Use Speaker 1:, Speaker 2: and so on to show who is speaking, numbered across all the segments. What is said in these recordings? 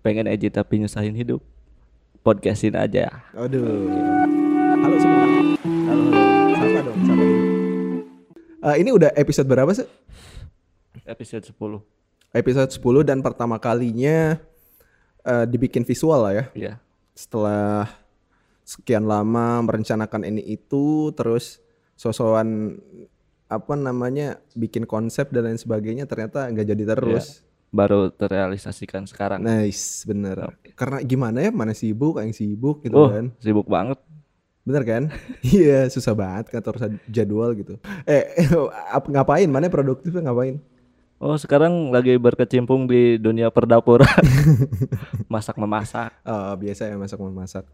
Speaker 1: pengen edit tapi nyusahin hidup podcastin aja
Speaker 2: Aduh. Halo semua. Halo. Sapa dong, sapa dulu. Eh, ini udah episode berapa sih?
Speaker 1: episode 10
Speaker 2: Episode 10 dan pertama kalinya eh, dibikin visual lah ya.
Speaker 1: iya
Speaker 2: Setelah sekian lama merencanakan ini itu terus sosokan apa namanya bikin konsep dan lain sebagainya ternyata nggak jadi terus.
Speaker 1: baru terrealisasikan sekarang
Speaker 2: Nice, bener. Karena gimana ya, mana sibuk, yang sibuk gitu
Speaker 1: oh
Speaker 2: kan.
Speaker 1: sibuk banget
Speaker 2: Bener kan? Iya, susah banget kan terus jadwal gitu. Eh, ap- ngapain? Mana produktif ngapain?
Speaker 1: oh sekarang lagi berkecimpung di dunia perdapuran masak memasak
Speaker 2: Eh, biasa ya masak memasak.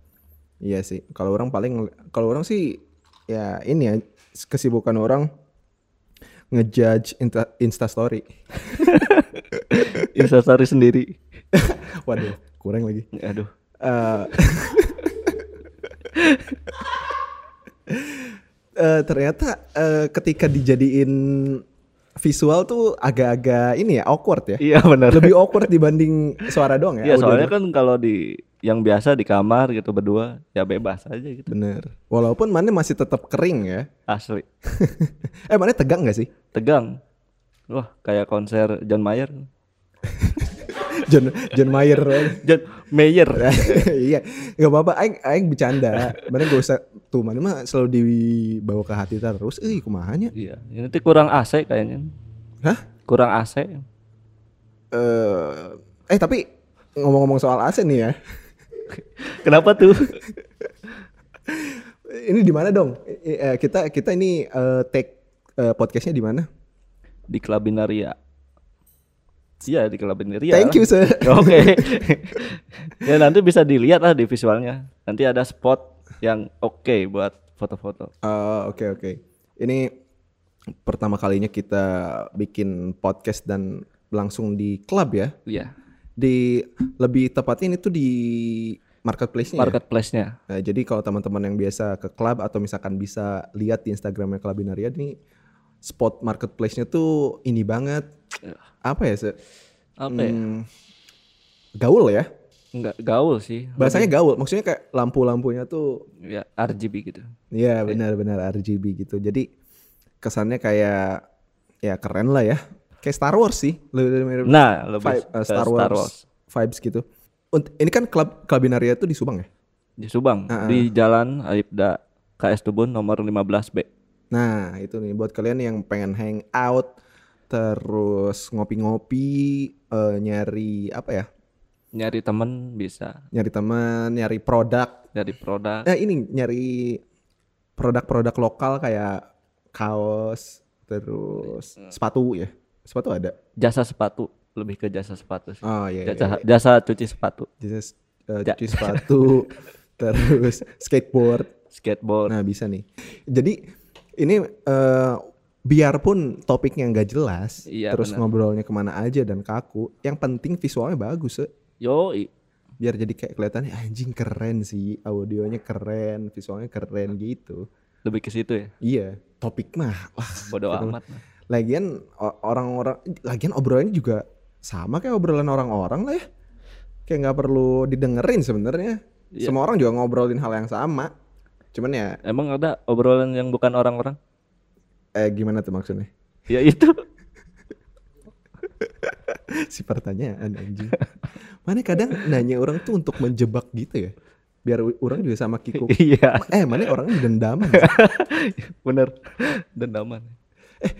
Speaker 2: Iya sih. Kalau orang paling kalau orang sih ya ini ya kesibukan orang ngejudge insta, insta story.
Speaker 1: instastory Iya, sendiri
Speaker 2: Waduh, kurang lagi.
Speaker 1: aduh
Speaker 2: Eh, eh, ternyata eh, ketika dijadiin visual tuh agak-agak ini ya awkward ya.
Speaker 1: iya benar
Speaker 2: lebih awkward dibanding suara doang ya.
Speaker 1: Iya
Speaker 2: audio
Speaker 1: soalnya kan
Speaker 2: doang.
Speaker 1: kalau di yang biasa di kamar gitu berdua ya bebas aja gitu
Speaker 2: bener. Walaupun mana masih tetap kering ya.
Speaker 1: asli
Speaker 2: Eh mana tegang nggak sih?
Speaker 1: tegang wah kayak konser John Mayer
Speaker 2: John John Mayer.
Speaker 1: John Mayer
Speaker 2: Iya, nggak apa-apa. Aing aing bercanda. Mana gak usah tuh mana mah selalu dibawa ke hati terus. Eh kumahanya.
Speaker 1: iya ini tuh kurang AC kayaknya
Speaker 2: Hah?
Speaker 1: kurang AC
Speaker 2: Eh eh tapi ngomong-ngomong soal AC nih ya.
Speaker 1: kenapa tuh
Speaker 2: Ini di mana dong? Eh, eh, kita kita ini eh, take eh, podcastnya di mana?
Speaker 1: di Klabinaria iya di Klabinaria
Speaker 2: Thank you sir.
Speaker 1: oke ya nanti bisa dilihat lah di visualnya nanti ada spot yang oke buat foto-foto
Speaker 2: Ah, oke oke. Ini pertama kalinya kita bikin podcast dan langsung di klub ya.
Speaker 1: iya
Speaker 2: Di lebih tepatnya ini tuh di marketplace-nya. ya?
Speaker 1: marketplace-nya
Speaker 2: Nah, jadi kalau teman-teman yang biasa ke klub atau misalkan bisa lihat di Instagramnya Klabinaria ini spot marketplace-nya tuh ini banget. Apa ya? Se-
Speaker 1: apa ya?
Speaker 2: Hmm, gaul ya.
Speaker 1: nggak gaul sih
Speaker 2: Bahasanya gaul. Maksudnya kayak lampu-lampunya tuh
Speaker 1: ya RGB gitu
Speaker 2: Iya benar-benar RGB gitu. Jadi kesannya kayak ya keren lah ya. Kayak Star Wars sih, lebih lebih mirip
Speaker 1: nah lebih
Speaker 2: vibe, eh,
Speaker 1: ke
Speaker 2: Star, Wars vibes gitu. Unt- ini kan klub Klabinaria itu di Subang ya.
Speaker 1: di Subang
Speaker 2: Heeh.
Speaker 1: di Jalan Aibda KS Tubun nomor 15B
Speaker 2: Nah itu nih buat kalian yang pengen hang out terus ngopi-ngopi eh, nyari apa ya
Speaker 1: nyari temen bisa
Speaker 2: nyari teman nyari produk
Speaker 1: dari produk
Speaker 2: nah ini nyari produk-produk lokal kayak kaos terus sepatu ya sepatu ada
Speaker 1: jasa sepatu lebih ke jasa sepatu sih.
Speaker 2: oh iya, iya,
Speaker 1: jasa, jasa cuci sepatu
Speaker 2: Just uh,
Speaker 1: Ja-
Speaker 2: cuci sepatu, terus skateboard.
Speaker 1: skateboard
Speaker 2: Nah bisa nih. Jadi ini eh, biarpun topiknya nggak jelas,
Speaker 1: Iya,
Speaker 2: terus
Speaker 1: benar.
Speaker 2: ngobrolnya kemana aja dan kaku. Yang penting visualnya bagus, Se.
Speaker 1: yo
Speaker 2: biar jadi kayak kelihatannya anjing keren sih, audionya keren, visualnya keren gitu.
Speaker 1: lebih ke situ ya
Speaker 2: Iya, topik mah. Wah,
Speaker 1: bodoh
Speaker 2: Betul.
Speaker 1: amat
Speaker 2: lagian o- orang-orang, lagian obrolannya juga sama kayak obrolan orang-orang lah ya. Kayak nggak perlu didengerin sebenarnya.
Speaker 1: Iya.
Speaker 2: Semua orang juga ngobrolin hal yang sama. Cuman ya
Speaker 1: emang ada obrolan yang bukan orang-orang
Speaker 2: eh gimana tuh maksudnya?
Speaker 1: ya itu
Speaker 2: si pertanyaan anjing. Mana kadang nanya orang tuh untuk menjebak gitu ya. Biar u- orang juga sama Kiko.
Speaker 1: iya
Speaker 2: Eh, mana orangnya dendaman.
Speaker 1: bener dendaman
Speaker 2: Eh,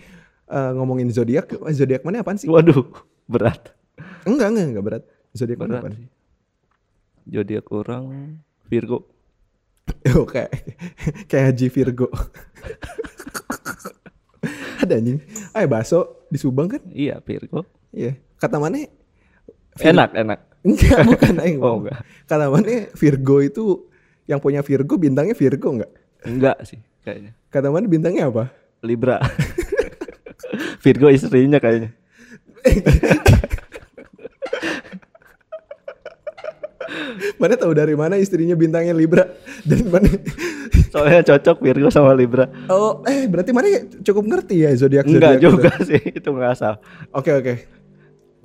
Speaker 2: ngomongin zodiak, zodiak mana apaan sih?
Speaker 1: waduh berat
Speaker 2: Enggak, enggak, enggak berat. Zodiak
Speaker 1: berat
Speaker 2: mana apaan?
Speaker 1: sih zodiak orang Virgo
Speaker 2: Oh, kayak kayak Haji Virgo. Ada anjing. Eh, baso di Subang kan?
Speaker 1: iya Virgo
Speaker 2: Iya. Kata mana?
Speaker 1: enak enak
Speaker 2: Enggak, bukan aing.
Speaker 1: Oh, enggak.
Speaker 2: Kata mana Virgo itu yang punya Virgo bintangnya Virgo enggak?
Speaker 1: enggak sih kayaknya
Speaker 2: Kata mana bintangnya apa?
Speaker 1: Libra Virgo istrinya kayaknya
Speaker 2: Mana tahu dari mana istrinya bintangnya Libra dan mana
Speaker 1: soalnya cocok Virgo sama Libra
Speaker 2: Oh, eh berarti mana cukup ngerti ya zodiak
Speaker 1: enggak juga sih itu nggak asal
Speaker 2: Oke, oke.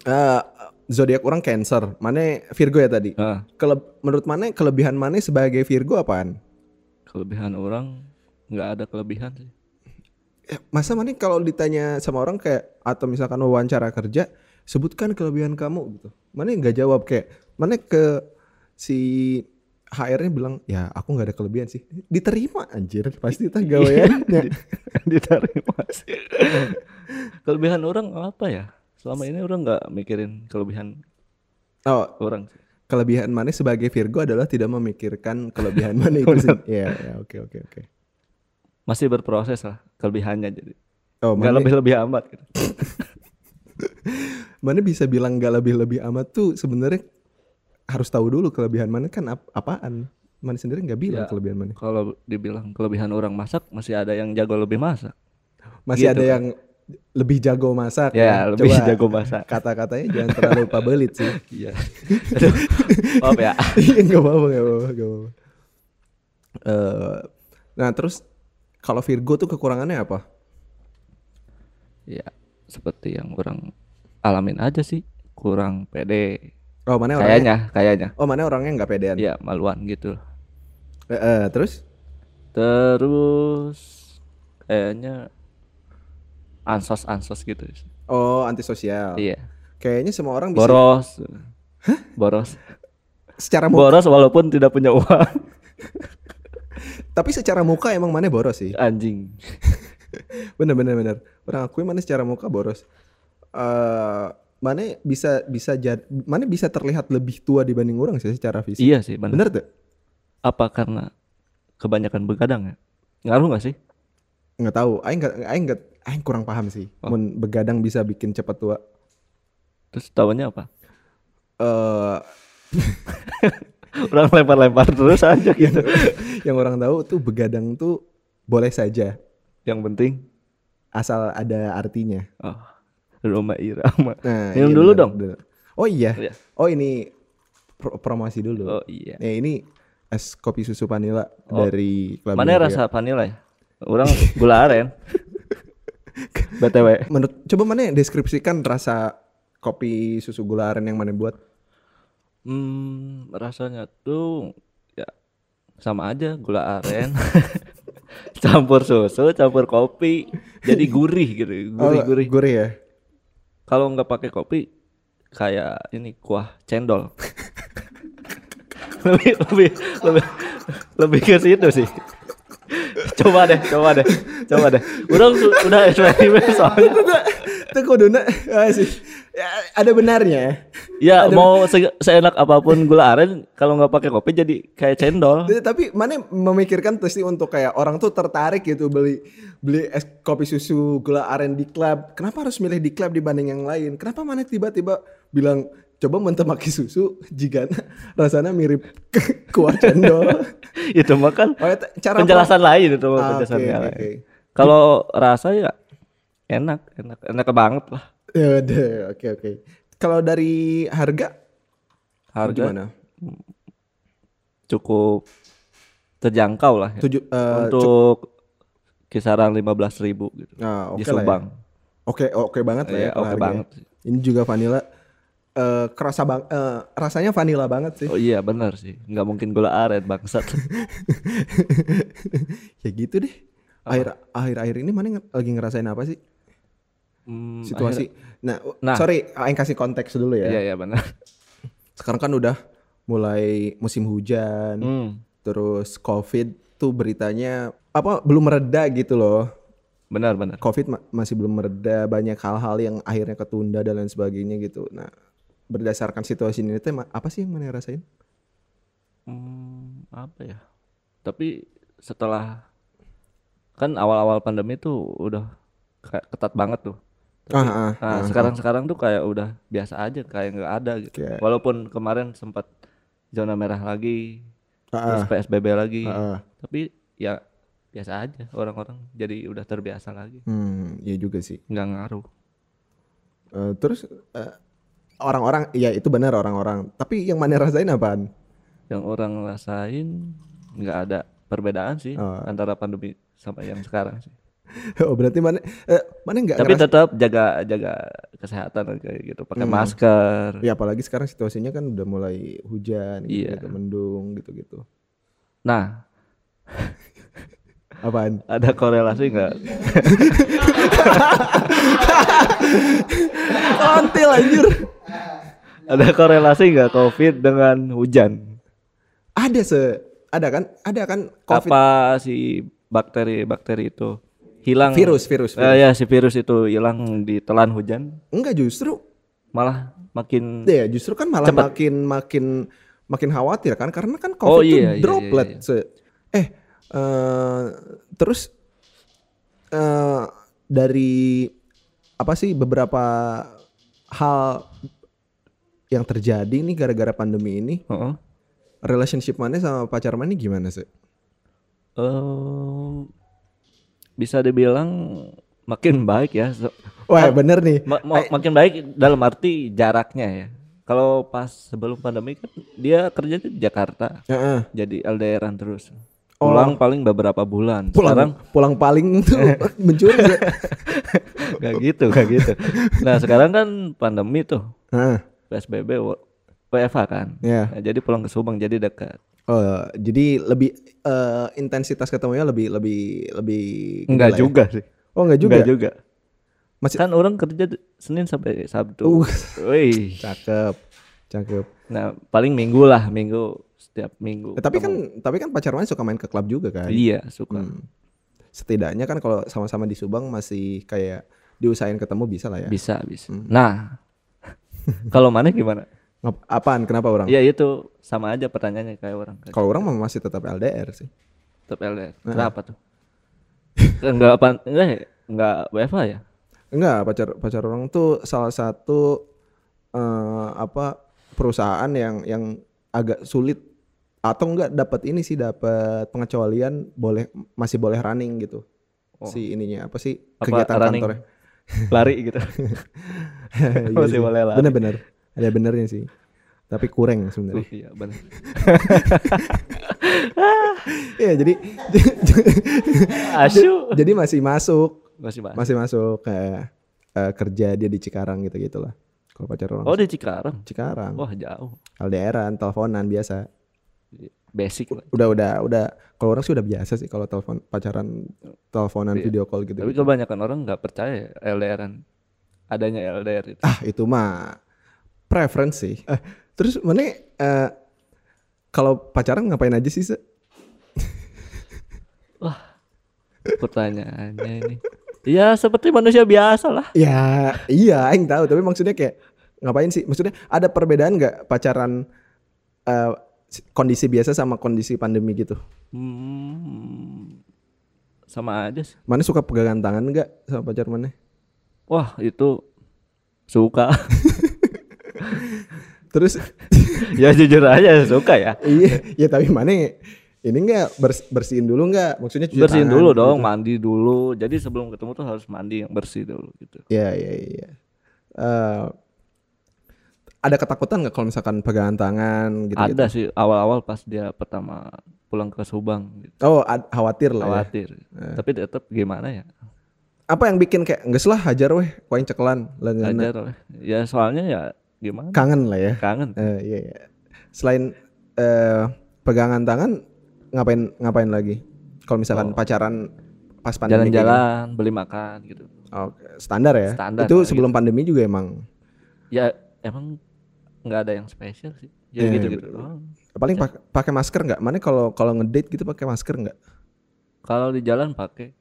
Speaker 2: Eh, zodiak orang Cancer, mana Virgo ya tadi.
Speaker 1: Nah,
Speaker 2: Kele- menurut mana kelebihan mana sebagai Virgo apaan?
Speaker 1: kelebihan orang nggak ada kelebihan sih.
Speaker 2: Eh, Masa mana kalau ditanya sama orang kayak atau misalkan wawancara kerja, sebutkan kelebihan kamu gitu. Mana nggak jawab kayak mana ke si HR-nya bilang, "Ya, aku nggak ada kelebihan sih." Diterima anjir, pasti tah
Speaker 1: Iya.
Speaker 2: gaweannya.
Speaker 1: Diterima sih. kelebihan orang apa ya? Selama ini orang nggak mikirin kelebihan
Speaker 2: Oh,
Speaker 1: orang. sih.
Speaker 2: kelebihan mana sebagai Virgo adalah tidak memikirkan kelebihan mana itu sih. Iya, iya, oke oke oke.
Speaker 1: Masih berproses lah kelebihannya jadi.
Speaker 2: Oh,
Speaker 1: Nggak
Speaker 2: mana,
Speaker 1: lebih-lebih amat gitu.
Speaker 2: mana bisa bilang nggak lebih-lebih amat tuh sebenarnya harus tahu dulu kelebihan mana kan ap- apaan. Mana sendiri nggak bilang
Speaker 1: Ya.
Speaker 2: kelebihan mana.
Speaker 1: Kalau dibilang kelebihan orang masak masih ada yang jago lebih masak.
Speaker 2: Masih
Speaker 1: Gitu kan.
Speaker 2: ada yang lebih jago masak.
Speaker 1: Ya,
Speaker 2: kan?
Speaker 1: lebih
Speaker 2: Coba
Speaker 1: jago masak.
Speaker 2: Kata-katanya jangan terlalu pabelit sih.
Speaker 1: Iya. Aduh, Maaf ya.
Speaker 2: Iya nggak apa-apa nggak apa-apa nggak apa-apa. Eh, nah terus kalau Virgo tuh kekurangannya apa?
Speaker 1: Ya, seperti yang orang alamin aja sih, kurang pede.
Speaker 2: Oh mana orangnya?
Speaker 1: Kayaknya, kayaknya.
Speaker 2: Oh mana orangnya nggak pedean?
Speaker 1: Ya, maluan gitu.
Speaker 2: Eh, eh, terus?
Speaker 1: Terus kayaknya ansos-ansos gitu.
Speaker 2: Oh antisosial.
Speaker 1: Iya.
Speaker 2: Kayaknya
Speaker 1: Kan
Speaker 2: semua orang bisa
Speaker 1: Boros. Boros.
Speaker 2: secara muka,
Speaker 1: Boros walaupun tidak punya uang.
Speaker 2: tapi secara muka emang mana boros
Speaker 1: Iya.
Speaker 2: sih.
Speaker 1: Anjing.
Speaker 2: Bener bener bener. Orang akui mana secara muka boros. Eh mana bisa bisa jad, mana bisa terlihat lebih tua dibanding orang sih secara fisik.
Speaker 1: Iya sih, benar.
Speaker 2: Bener tuh?
Speaker 1: Apa karena kebanyakan begadang ya? Ngaruh nggak sih?
Speaker 2: Nggak tahu. Aing nggak aing nggak aing kurang paham sih.
Speaker 1: Oh.
Speaker 2: Mun begadang bisa bikin cepat tua.
Speaker 1: Terus tahunya apa?
Speaker 2: Eh
Speaker 1: Orang lempar-lempar terus aja gitu.
Speaker 2: yang orang tahu tuh begadang tuh boleh saja
Speaker 1: yang penting
Speaker 2: asal ada artinya.
Speaker 1: oh, Roma Irama.
Speaker 2: Nah,
Speaker 1: Minum
Speaker 2: iya,
Speaker 1: dulu
Speaker 2: bener,
Speaker 1: dong.
Speaker 2: bener. Oh iya.
Speaker 1: Iya.
Speaker 2: Oh ini pro- promosi dulu.
Speaker 1: Oh iya.
Speaker 2: Eh ini es kopi susu vanilla
Speaker 1: Oh.
Speaker 2: dari Club
Speaker 1: Mana
Speaker 2: Bintang
Speaker 1: rasa vanilla ya? Orang gula aren. BTW
Speaker 2: Tiga. Menurut coba mana deskripsikan rasa kopi susu gula aren yang mana buat?
Speaker 1: Hmm, rasanya tuh ya sama aja gula aren campur susu, campur kopi, jadi gurih gitu,
Speaker 2: Oh,
Speaker 1: gurih-gurih.
Speaker 2: Gurih ya.
Speaker 1: Kalau nggak pakai kopi kayak ini kuah cendol. lebih lebih lebih lebih ke situ sih. Coba deh, coba deh, coba deh. Udah udah eksperimen soalnya.
Speaker 2: Itu kuduna ah, sih. Ya, ada benarnya.
Speaker 1: Ya mau se- seenak apapun gula aren kalau nggak pakai kopi jadi kayak cendol.
Speaker 2: Iya, Tapi- Tapi mana memikirkan pasti untuk kayak orang tuh tertarik gitu beli beli es kopi susu gula aren di klub. Kenapa harus milih di klub dibanding yang lain? Kenapa mana tiba-tiba bilang coba mentemaki susu jika rasanya mirip kuah cendol?
Speaker 1: Itu mah kan
Speaker 2: Oh, ya, cara
Speaker 1: penjelasan lain itu mah
Speaker 2: Ah, oke,
Speaker 1: penjelasan ya,
Speaker 2: oke,
Speaker 1: lain.
Speaker 2: oke.
Speaker 1: Kalau rasa ya enak, enak, enak banget lah.
Speaker 2: Yaudah, Ya, oke oke. Kalau dari harga,
Speaker 1: Harga
Speaker 2: gimana?
Speaker 1: cukup terjangkau lah. ya.
Speaker 2: Tujuh eh, cu-
Speaker 1: untuk kisaran 15.000 gitu
Speaker 2: ah, oke
Speaker 1: di
Speaker 2: lah ya.
Speaker 1: Subang.
Speaker 2: Oke oke banget lah ya.
Speaker 1: Iya,
Speaker 2: kalau
Speaker 1: oke
Speaker 2: harganya.
Speaker 1: banget.
Speaker 2: Ini juga vanilla. Eh, kerasa bang, eh, rasanya vanilla banget sih.
Speaker 1: Oh iya benar sih, nggak mungkin gula aren bangsat.
Speaker 2: ya gitu deh. Akhir akhir akhir ini mana nge- lagi ngerasain apa sih
Speaker 1: Hmm, akhirnya-
Speaker 2: situasi? Nah, w-
Speaker 1: Nah.
Speaker 2: sorry, aing kasih konteks dulu ya.
Speaker 1: Iya iya benar.
Speaker 2: Sekarang kan udah mulai musim hujan,
Speaker 1: Hmm,
Speaker 2: terus covid tuh beritanya apa belum mereda gitu loh.
Speaker 1: benar benar.
Speaker 2: Covid ma- masih belum mereda, banyak hal-hal yang akhirnya ketunda dan lain sebagainya gitu. Nah, berdasarkan situasi ini tuh ma- apa sih yang mana rasain?
Speaker 1: Hmm, apa ya? Tapi setelah kan awal-awal pandemi tuh udah kayak ketat banget tuh.
Speaker 2: Ah, ah,
Speaker 1: Nah,
Speaker 2: ah.
Speaker 1: sekarang-sekarang tuh kayak udah biasa aja, kayak nggak ada gitu.
Speaker 2: Kayak-
Speaker 1: Walaupun kemarin sempat zona merah lagi,
Speaker 2: Ah,
Speaker 1: terus
Speaker 2: ah,
Speaker 1: PSBB lagi.
Speaker 2: ah, ah.
Speaker 1: tapi ya biasa aja orang-orang jadi udah terbiasa lagi
Speaker 2: Hmm, iya juga sih.
Speaker 1: nggak ngaruh
Speaker 2: Eh, terus eh, orang-orang, ya itu benar orang-orang. Tapi yang mana rasain apaan?
Speaker 1: yang orang rasain nggak ada perbedaan sih
Speaker 2: Oh.
Speaker 1: antara pandemi sama yang sekarang sih
Speaker 2: oh berarti mana eh, mana nggak
Speaker 1: Tapi
Speaker 2: ngerasa-
Speaker 1: tetap jaga jaga kesehatan kayak gitu, pakai
Speaker 2: Hmm.
Speaker 1: masker.
Speaker 2: ya apalagi sekarang situasinya kan udah mulai hujan gitu,
Speaker 1: Iya.
Speaker 2: gitu, mendung gitu-gitu
Speaker 1: Nah,
Speaker 2: apaan
Speaker 1: ada korelasi nggak?
Speaker 2: kontil anjir
Speaker 1: ada korelasi nggak COVID dengan hujan?
Speaker 2: ada se ada kan ada kan covid
Speaker 1: Apa si bakteri-bakteri itu hilang?
Speaker 2: virus virus,
Speaker 1: Eh,
Speaker 2: virus.
Speaker 1: ya si virus itu hilang ditelan hujan,
Speaker 2: enggak justru
Speaker 1: malah makin
Speaker 2: ya justru kan malah
Speaker 1: Cepet.
Speaker 2: makin makin makin khawatir kan karena kan covid
Speaker 1: Oh, iya,
Speaker 2: itu
Speaker 1: iya, iya,
Speaker 2: droplet
Speaker 1: iya.
Speaker 2: Se- eh eh, terus eh dari apa sih beberapa hal yang terjadi nih gara-gara pandemi ini
Speaker 1: Heeh.
Speaker 2: relationship mana sama pacar mana gimana sih
Speaker 1: Em, Eh, bisa dibilang makin baik ya. So-
Speaker 2: wah Oh, eh, bener nih
Speaker 1: Ma- ma- makin baik dalam arti jaraknya ya. Kalau pas sebelum pandemi kan dia kerja di Jakarta,
Speaker 2: Heeh.
Speaker 1: jadi LDRan terus.
Speaker 2: Oh.
Speaker 1: Pulang paling beberapa bulan. Sekarang
Speaker 2: pulang pulang paling tuh mencuri ya. Zek.
Speaker 1: nggak gitu, nggak gitu. Nah sekarang kan pandemi tuh
Speaker 2: Heeh.
Speaker 1: PSBB, wo- WFH kan.
Speaker 2: ya
Speaker 1: Nah, jadi pulang ke Subang jadi dekat.
Speaker 2: Oh, jadi lebih eh, intensitas ketemunya lebih lebih lebih gede lah ya?
Speaker 1: juga sih.
Speaker 2: Oh, enggak juga.
Speaker 1: Juga juga.
Speaker 2: Masih-
Speaker 1: Kan orang kerja di- Senin sampai Sabtu.
Speaker 2: Uh,
Speaker 1: Wih.
Speaker 2: cakep. Cakep.
Speaker 1: Nah paling minggu lah, minggu setiap minggu.
Speaker 2: Eh, tapi kan
Speaker 1: ketemu.
Speaker 2: tapi kan pacar Wan suka main ke klub juga kan?
Speaker 1: iya suka.
Speaker 2: Hmm. Setidaknya kan kalau sama-sama di Subang masih kayak diusahain ketemu bisa lah ya.
Speaker 1: Bisa, bisa.
Speaker 2: Hmm.
Speaker 1: Nah, kalau mana gimana?
Speaker 2: Ngap- Apaan? Kenapa orang?
Speaker 1: Ya itu sama aja pertanyaannya kayak orang.
Speaker 2: Kalau Nah. orang mah masih tetap LDR sih.
Speaker 1: tetap LDR. Kenapa tuh? enggak apa enggak ya? enggak WFH ya?
Speaker 2: Enggak, pacar pacar orang tuh salah satu eh, apa perusahaan yang yang agak sulit atau enggak dapat ini sih dapat pengecualian boleh masih boleh running gitu.
Speaker 1: Oh.
Speaker 2: Si ininya apa sih
Speaker 1: Apa
Speaker 2: kegiatan
Speaker 1: running?
Speaker 2: kantornya.
Speaker 1: Lari gitu.
Speaker 2: Iya
Speaker 1: Masih
Speaker 2: sih.
Speaker 1: boleh lari.
Speaker 2: Bener-bener. Ada benernya sih. Tapi
Speaker 1: Uh,
Speaker 2: kurang sebenarnya.
Speaker 1: iya, benar.
Speaker 2: Iya, jadi
Speaker 1: Asu.
Speaker 2: jadi masih masuk,
Speaker 1: Masih Mas.
Speaker 2: masih masuk kayak eh, kerja dia di Cikarang gitu-gitu lah. Kalau pacar orang
Speaker 1: Oh, di Cikarang.
Speaker 2: Cikarang.
Speaker 1: Wah, jauh.
Speaker 2: LDRan, teleponan biasa.
Speaker 1: Basic lah.
Speaker 2: Udah udah udah kalau orang sih udah biasa sih kalau telepon pacaran teleponan
Speaker 1: Iya.
Speaker 2: video call gitu.
Speaker 1: Tapi kebanyakan orang nggak percaya ya, LDRan adanya LDR itu.
Speaker 2: Ah, itu mah preference sih. Eh, terus mana eh, kalau pacaran ngapain aja sih? Se?
Speaker 1: Pertanyaannya ini. Ya seperti manusia biasa lah.
Speaker 2: Ya, iya aing tahu, tapi maksudnya kayak ngapain sih? Maksudnya ada perbedaan nggak pacaran eh, si- kondisi biasa sama kondisi pandemi gitu?
Speaker 1: Hmm, sama aja sih.
Speaker 2: Mana suka pegangan tangan nggak sama pacar mana?
Speaker 1: Wah itu suka
Speaker 2: Terus
Speaker 1: ya jujur aja suka ya
Speaker 2: iya, ya tapi mana ini nggak bers- bersihin dulu nggak? Maksudnya cuci
Speaker 1: bersihin
Speaker 2: tangan
Speaker 1: dulu
Speaker 2: gitu.
Speaker 1: dong mandi dulu jadi sebelum ketemu tuh harus mandi yang bersih dulu gitu
Speaker 2: Iya iya iya. Eh, ada ketakutan nggak kalau misalkan pegangan tangan gitu?
Speaker 1: ada sih awal-awal pas dia pertama pulang ke Subang gitu.
Speaker 2: Oh ad- khawatir lah. Ya.
Speaker 1: khawatir tapi tetap gimana ya
Speaker 2: Apa yang bikin kayak nggak lah hajar weh, koin cekelan, lengan,
Speaker 1: ajar lah. ya soalnya ya gimana
Speaker 2: kangen lah ya.
Speaker 1: kangen
Speaker 2: Eh, iya iya. Selain eh, pegangan tangan, ngapain ngapain lagi? Kalau misalkan pacaran pas pandemi.
Speaker 1: Oh.
Speaker 2: kayak
Speaker 1: jalan-jalan beli makan gitu
Speaker 2: gini. Oh, standar ya.
Speaker 1: Standar nah, gitu.
Speaker 2: Itu
Speaker 1: lah
Speaker 2: sebelum pandemi juga emang.
Speaker 1: ya emang nggak ada yang spesial sih ya
Speaker 2: Iya, iya,
Speaker 1: gitu-gitu
Speaker 2: betul.
Speaker 1: doang.
Speaker 2: Paling
Speaker 1: Iya.
Speaker 2: pak- pakai masker nggak? Mana kalau kalau ngedate gitu pakai masker nggak?
Speaker 1: kalau di jalan pakai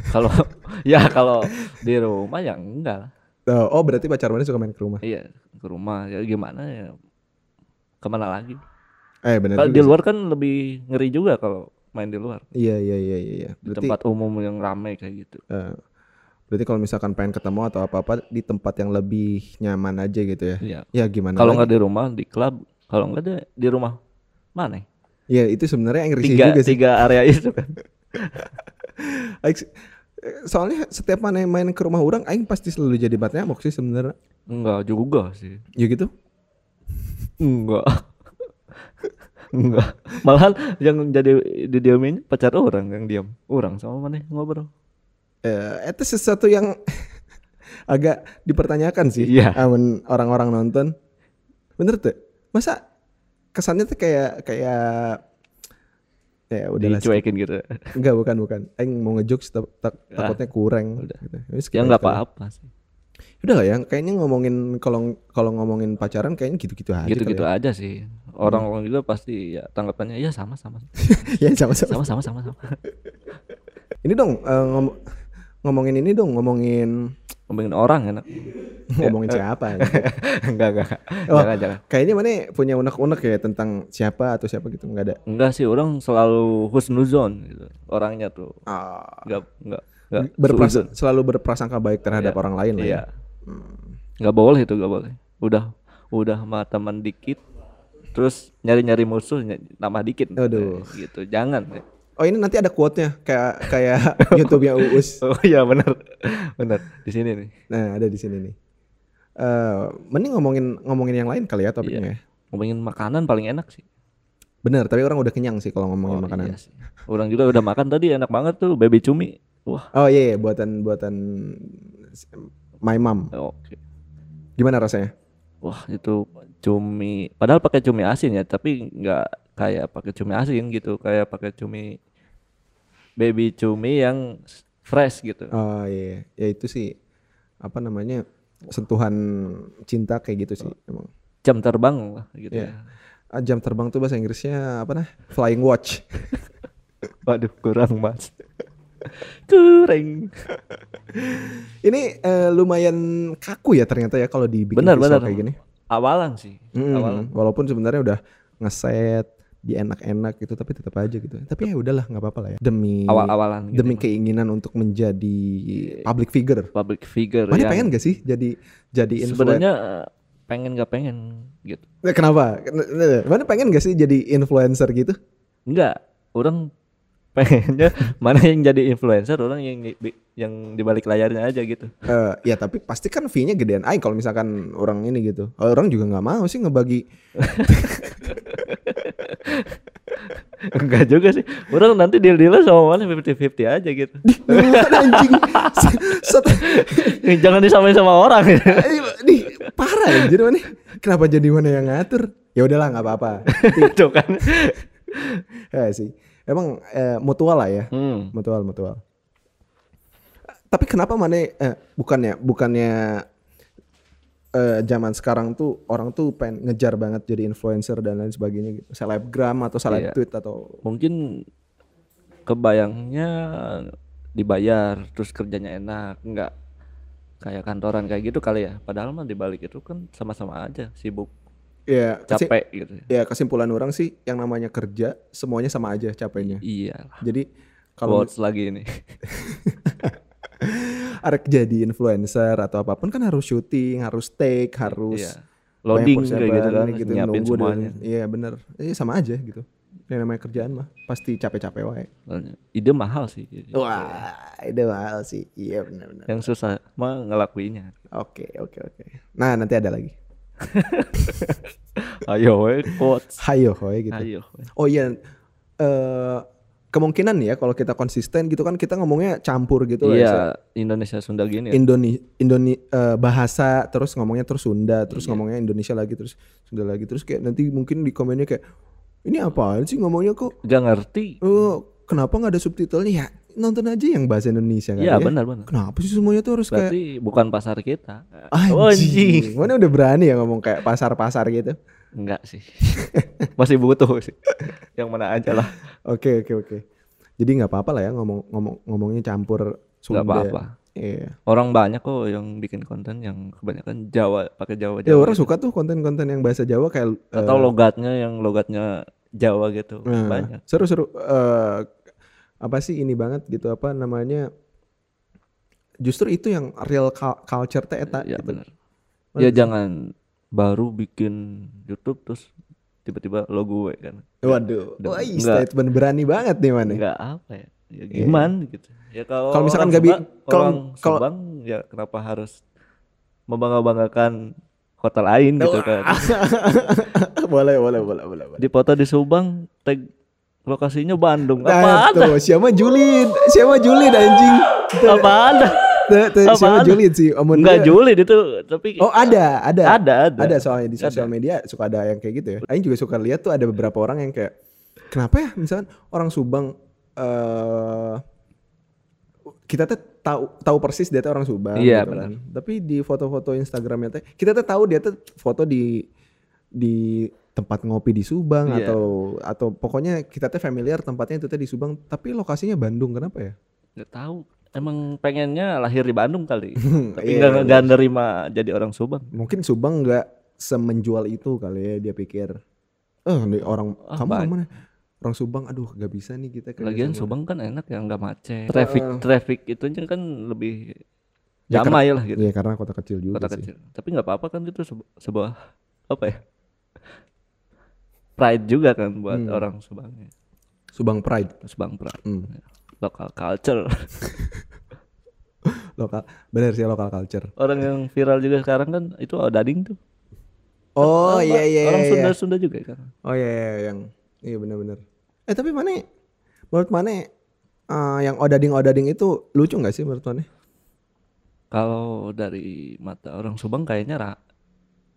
Speaker 1: kalau ya kalau di rumah ya enggak lah
Speaker 2: Oh, oh, berarti pacar mana suka main ke rumah?
Speaker 1: Iya ke rumah ya gimana ya kemana lagi?
Speaker 2: Eh benar.
Speaker 1: Kalau
Speaker 2: juga
Speaker 1: di
Speaker 2: sih.
Speaker 1: luar kan lebih ngeri juga kalau main di luar
Speaker 2: Iya iya iya iya. iya.
Speaker 1: di
Speaker 2: Berarti
Speaker 1: tempat umum yang ramai kayak gitu.
Speaker 2: eh, berarti kalau misalkan pengen ketemu atau apa apa di tempat yang lebih nyaman aja gitu ya?
Speaker 1: Iya.
Speaker 2: Ya gimana?
Speaker 1: Kalau
Speaker 2: lagi?
Speaker 1: nggak di rumah di klub, kalau nggak di di rumah mana? ya?
Speaker 2: ya itu sebenarnya yang risih
Speaker 1: Tiga
Speaker 2: juga sih.
Speaker 1: tiga area itu kan.
Speaker 2: Aing se- eh, soalnya setiap mana yang main ke rumah orang aing pasti selalu jadi bat nyamuk sih sebenarnya
Speaker 1: Enggak juga sih.
Speaker 2: ya gitu
Speaker 1: Enggak. Enggak. Malahan yang jadi di diemin pacar orang yang diam. Orang sama mana yang ngobrol.
Speaker 2: eh, itu sesuatu yang agak dipertanyakan sih
Speaker 1: Iya.
Speaker 2: amun orang-orang nonton bener tuh masa kesannya tuh kayak kayak ya udahlah skip.
Speaker 1: dicuekin gitu
Speaker 2: enggak bukan bukan Aing mau ngejokes tak- tak-
Speaker 1: Ah.
Speaker 2: takutnya kurang
Speaker 1: Udah.
Speaker 2: gitu.
Speaker 1: ya
Speaker 2: Wis, skip
Speaker 1: nggak
Speaker 2: aja.
Speaker 1: apa-apa sih
Speaker 2: udah lah ya kayaknya ngomongin kalau kalau ngomongin pacaran kayaknya gitu-gitu aja
Speaker 1: gitu-gitu
Speaker 2: kali ya.
Speaker 1: aja sih orang-orang juga pasti ya tanggapannya ya sama sama
Speaker 2: ya. ya sama-sama
Speaker 1: sama sama sama sama
Speaker 2: ini dong eh, ngom- ngomongin ini dong ngomongin
Speaker 1: ngomongin orang enak Ya.
Speaker 2: ngomongin siapa
Speaker 1: enggak enggak
Speaker 2: Oh.
Speaker 1: jangan jangan
Speaker 2: kayaknya mana punya unek-unek ya tentang siapa atau siapa gitu nggak ada
Speaker 1: enggak sih orang selalu husnuzon gitu orangnya tuh
Speaker 2: Ah,
Speaker 1: enggak enggak enggak
Speaker 2: berpras-
Speaker 1: suuzon.
Speaker 2: Ah, selalu berprasangka baik terhadap orang lain lah ya.
Speaker 1: iya nggak boleh itu nggak boleh udah udah sama teman dikit terus nyari-nyari musuh ny- nambah dikit
Speaker 2: Aduh.
Speaker 1: gitu jangan
Speaker 2: Oh ini nanti ada quote-nya kayak kayak YouTube-nya Uus.
Speaker 1: oh iya benar benar di sini nih
Speaker 2: Nah, ada di sini nih. Eh, mending ngomongin ngomongin yang lain kali ya
Speaker 1: Iya.
Speaker 2: topiknya. ya.
Speaker 1: ngomongin makanan paling enak sih
Speaker 2: Bener, tapi orang udah kenyang sih kalau
Speaker 1: Oh,
Speaker 2: ngomongin
Speaker 1: iya
Speaker 2: makanan.
Speaker 1: sih. Orang juga udah makan tadi enak banget tuh baby cumi. Wah,
Speaker 2: Oh iya, iya, buatan buatan my mom.
Speaker 1: oke.
Speaker 2: Gimana rasanya?
Speaker 1: Wah, itu cumi. Padahal pakai cumi asin ya, tapi nggak kayak pakai cumi asin gitu, kayak pakai cumi baby cumi yang fresh gitu.
Speaker 2: Oh iya, ya itu sih apa namanya sentuhan cinta kayak gitu sih.
Speaker 1: Oh.
Speaker 2: Emang.
Speaker 1: Jam terbang lah gitu
Speaker 2: Iya. Ah, Jam terbang tuh bahasa Inggrisnya apa nah? Flying watch.
Speaker 1: ya. Waduh, kurang Mas. kurang.
Speaker 2: Ini eh, lumayan kaku ya ternyata ya kalau dibikin
Speaker 1: Benar,
Speaker 2: visual
Speaker 1: benar.
Speaker 2: kayak gini.
Speaker 1: Awalan sih.
Speaker 2: Mm,
Speaker 1: Awalan.
Speaker 2: walaupun sebenarnya udah ngeset di enak-enak gitu tapi tetap aja gitu. Tapi ya udahlah nggak apa-apa lah ya. Demi
Speaker 1: Awal-awalan gitu.
Speaker 2: demi keinginan untuk menjadi public figure.
Speaker 1: public figure
Speaker 2: Mana
Speaker 1: yang
Speaker 2: pengen gak sih jadi jadi
Speaker 1: iya.
Speaker 2: influencer?
Speaker 1: sebenarnya eh, pengen nggak pengen gitu.
Speaker 2: Kenapa? Mana pengen gak sih jadi influencer gitu?
Speaker 1: Enggak, orang pengennya mana yang jadi influencer, orang yang di- yang dibalik layarnya aja gitu.
Speaker 2: Eh, ya tapi pasti kan fee-nya gedean aja kalau misalkan orang ini gitu. Orang juga nggak mau sih ngebagi.
Speaker 1: Enggak juga sih. Orang nanti deal-dealan sama mana 50-50 aja gitu.
Speaker 2: Eh, Anjing. Set-
Speaker 1: Jangan disamain sama orang.
Speaker 2: Eh, Nih parah ya jadi mana? Kenapa jadi mana yang ngatur? Ya udahlah nggak apa-apa.
Speaker 1: Itu kan.
Speaker 2: Ya sih. Emang eh, mutual lah ya,
Speaker 1: Hmm.
Speaker 2: mutual mutual. Tapi kenapa mana? Eh, bukannya bukannya eh, zaman sekarang tuh orang tuh pengen ngejar banget jadi influencer dan lain sebagainya gitu. Selebgram atau seleb
Speaker 1: Iya.
Speaker 2: tweet atau
Speaker 1: Mungkin kebayangnya dibayar terus kerjanya enak, enggak kayak kantoran kayak gitu kali ya. Padahal mah dibalik itu kan sama-sama aja sibuk,
Speaker 2: ya kesi-
Speaker 1: capek gitu.
Speaker 2: ya kesimpulan orang sih yang namanya kerja semuanya sama aja capeknya.
Speaker 1: Iya.
Speaker 2: Jadi kalau
Speaker 1: Kalau lagi ini.
Speaker 2: arek jadi influencer atau apapun kan harus syuting, harus take, harus
Speaker 1: Iya. loading
Speaker 2: banyak
Speaker 1: kayak gitu kan
Speaker 2: persiapan,
Speaker 1: nyiapin
Speaker 2: nunggu dan-
Speaker 1: semuanya
Speaker 2: Iya bener, Iya, sama aja gitu. Yang namanya kerjaan mah pasti capek-capek wae.
Speaker 1: ide mahal sih
Speaker 2: Oh. Wah, itu mahal sih. Iya benar-benar.
Speaker 1: yang susah mah ngelakuinnya
Speaker 2: Oke, oke, oke. Nah, nanti ada lagi.
Speaker 1: ayo we quotes
Speaker 2: Hayo hoy gitu.
Speaker 1: ayo we.
Speaker 2: Oh iya. Eh kemungkinan ya kalau kita konsisten gitu kan kita ngomongnya campur gitu lah ya, Seth.
Speaker 1: iya Indonesia Sunda gini ya.
Speaker 2: Indoni Indoni eh, bahasa terus ngomongnya terus Sunda terus
Speaker 1: Iya.
Speaker 2: ngomongnya Indonesia lagi terus Sunda lagi terus kayak nanti mungkin di komennya kayak ini apaan sih ngomongnya kok
Speaker 1: gak ngerti
Speaker 2: eh, kenapa nggak ada subtitlenya ya nonton aja yang bahasa Indonesia kali
Speaker 1: iya
Speaker 2: ya.
Speaker 1: benar benar
Speaker 2: Kenapa sih semuanya tuh harus kayak
Speaker 1: berarti bukan pasar kita
Speaker 2: anjing. Mana udah berani ya ngomong kayak pasar-pasar gitu.
Speaker 1: enggak sih masih butuh sih yang mana aja lah
Speaker 2: Oke oke oke. Jadi nggak apa-apa lah ya ngomong ngomong ngomongnya campur Sunda.
Speaker 1: nggak apa-apa
Speaker 2: Iya.
Speaker 1: orang banyak kok yang bikin konten yang kebanyakan Jawa pakai Jawa
Speaker 2: Ya
Speaker 1: Jawa
Speaker 2: orang
Speaker 1: gitu.
Speaker 2: suka tuh konten-konten yang bahasa Jawa kayak eh,
Speaker 1: atau logatnya yang logatnya Jawa gitu
Speaker 2: Nah,
Speaker 1: banyak
Speaker 2: Seru-seru eh, apa sih ini banget gitu apa namanya? Justru itu yang real cul- culture teh eta
Speaker 1: Iya
Speaker 2: gitu.
Speaker 1: benar.
Speaker 2: Benar
Speaker 1: Ya
Speaker 2: sih.
Speaker 1: jangan baru bikin YouTube terus tiba-tiba lo gue kan.
Speaker 2: Waduh,
Speaker 1: Dan-
Speaker 2: wah, ih,
Speaker 1: enggak.
Speaker 2: statement berani banget nih mana.
Speaker 1: Enggak apa ya. Ya gimana gitu. Ya kalau
Speaker 2: Iya. Kalau misalkan
Speaker 1: orang
Speaker 2: nggak bi-
Speaker 1: Subang-
Speaker 2: kalau-
Speaker 1: orang
Speaker 2: kalau-
Speaker 1: Subang ya kenapa harus membangga-banggakan kota
Speaker 2: Oh,
Speaker 1: lain gitu kan.
Speaker 2: boleh, boleh, boleh, boleh, boleh.
Speaker 1: Di foto di Subang tag Lokasinya Bandung.
Speaker 2: Nah,
Speaker 1: Apa ada?
Speaker 2: tuh, siapa Julid? Siapa Julid anjing? Tuh,
Speaker 1: Apa ada?
Speaker 2: tuh, tuh,
Speaker 1: apaan?
Speaker 2: siapa Julid sih? Omong
Speaker 1: Enggak
Speaker 2: dia-
Speaker 1: julid itu, tapi
Speaker 2: Oh, ada, ada.
Speaker 1: ada, ada.
Speaker 2: Ada soalnya di sosial
Speaker 1: Ada.
Speaker 2: media suka ada yang kayak gitu ya. Aing juga suka lihat tuh ada beberapa orang yang kayak kenapa ya misalkan orang Subang eh kita tuh tahu tahu persis dia tuh orang Subang
Speaker 1: Iya,
Speaker 2: kan. Tapi di foto-foto Instagramnya tuh kita tuh tahu dia tuh foto di di tempat ngopi di Subang
Speaker 1: Iya.
Speaker 2: atau atau pokoknya kita tuh familiar tempatnya itu tuh di Subang tapi lokasinya Bandung kenapa ya?
Speaker 1: Enggak tahu. Emang pengennya lahir di Bandung kali. Tapi enggak
Speaker 2: Iya, iya.
Speaker 1: enggak nerima jadi orang Subang.
Speaker 2: Mungkin Subang nggak semenjual itu kali ya dia pikir. Eh nih orang
Speaker 1: Ah,
Speaker 2: kamu
Speaker 1: Pak.
Speaker 2: orang mana? Orang Subang aduh nggak bisa nih kita kerja
Speaker 1: Lagian
Speaker 2: sama.
Speaker 1: Subang kan enak ya enggak macet. Traffic
Speaker 2: Heeh.
Speaker 1: traffic itu aja kan lebih
Speaker 2: eh. Ya, karena-
Speaker 1: damai lah gitu
Speaker 2: Iya karena kota kecil juga
Speaker 1: kota
Speaker 2: sih.
Speaker 1: kecil. Tapi nggak apa-apa kan itu sebu- sebuah apa ya? Pride juga kan buat
Speaker 2: Hmm.
Speaker 1: orang Subangnya.
Speaker 2: Subang Pride.
Speaker 1: Subang Pride.
Speaker 2: Hmm.
Speaker 1: Lokal culture.
Speaker 2: Lokal. Bener sih lokal culture.
Speaker 1: Orang yang viral juga sekarang kan itu Dading tuh.
Speaker 2: Oh
Speaker 1: Kan Orang-
Speaker 2: iya iya
Speaker 1: Orang
Speaker 2: iya.
Speaker 1: Sunda-Sunda juga kan.
Speaker 2: Oh iya iya yang iya benar-benar. Eh tapi mana menurut mana eh, yang odading odading itu lucu nggak sih menurut mana?
Speaker 1: Kalau dari mata orang Subang kayaknya ra-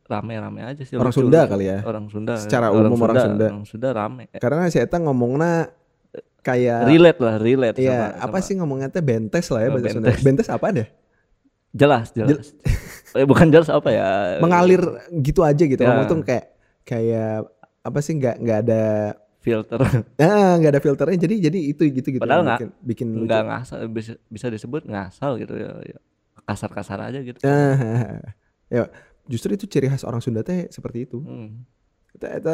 Speaker 1: rame-rame aja sih.
Speaker 2: Orang
Speaker 1: lucu,
Speaker 2: Sunda
Speaker 1: lucu.
Speaker 2: kali ya.
Speaker 1: Orang Sunda.
Speaker 2: Secara umum orang Sunda.
Speaker 1: Orang Sunda rame. Eh,
Speaker 2: Karena si Eta ngomongnya kayak
Speaker 1: Relate lah, relate
Speaker 2: Iya,
Speaker 1: sama-
Speaker 2: apa
Speaker 1: sama-
Speaker 2: sih ngomongnya teh bentes lah ya
Speaker 1: Oh,
Speaker 2: bahasa Sunda.
Speaker 1: bentes.
Speaker 2: Bentes apa deh?
Speaker 1: Jelas, jelas. eh bukan jelas apa ya?
Speaker 2: Mengalir gitu aja gitu.
Speaker 1: Ya.
Speaker 2: Ngomong tuh kayak kayak apa sih nggak nggak ada
Speaker 1: filter.
Speaker 2: Nah, nggak ada filternya. Jadi jadi itu gitu gitu.
Speaker 1: Padahal
Speaker 2: yang
Speaker 1: nggak-
Speaker 2: bikin, bikin lucu.
Speaker 1: nggak ngasal bisa, bisa disebut ngasal gitu ya ya. kasar-kasar aja gitu
Speaker 2: Ah, ya, justru itu ciri khas orang Sunda teh seperti itu.
Speaker 1: Hmm.
Speaker 2: Eta, eta,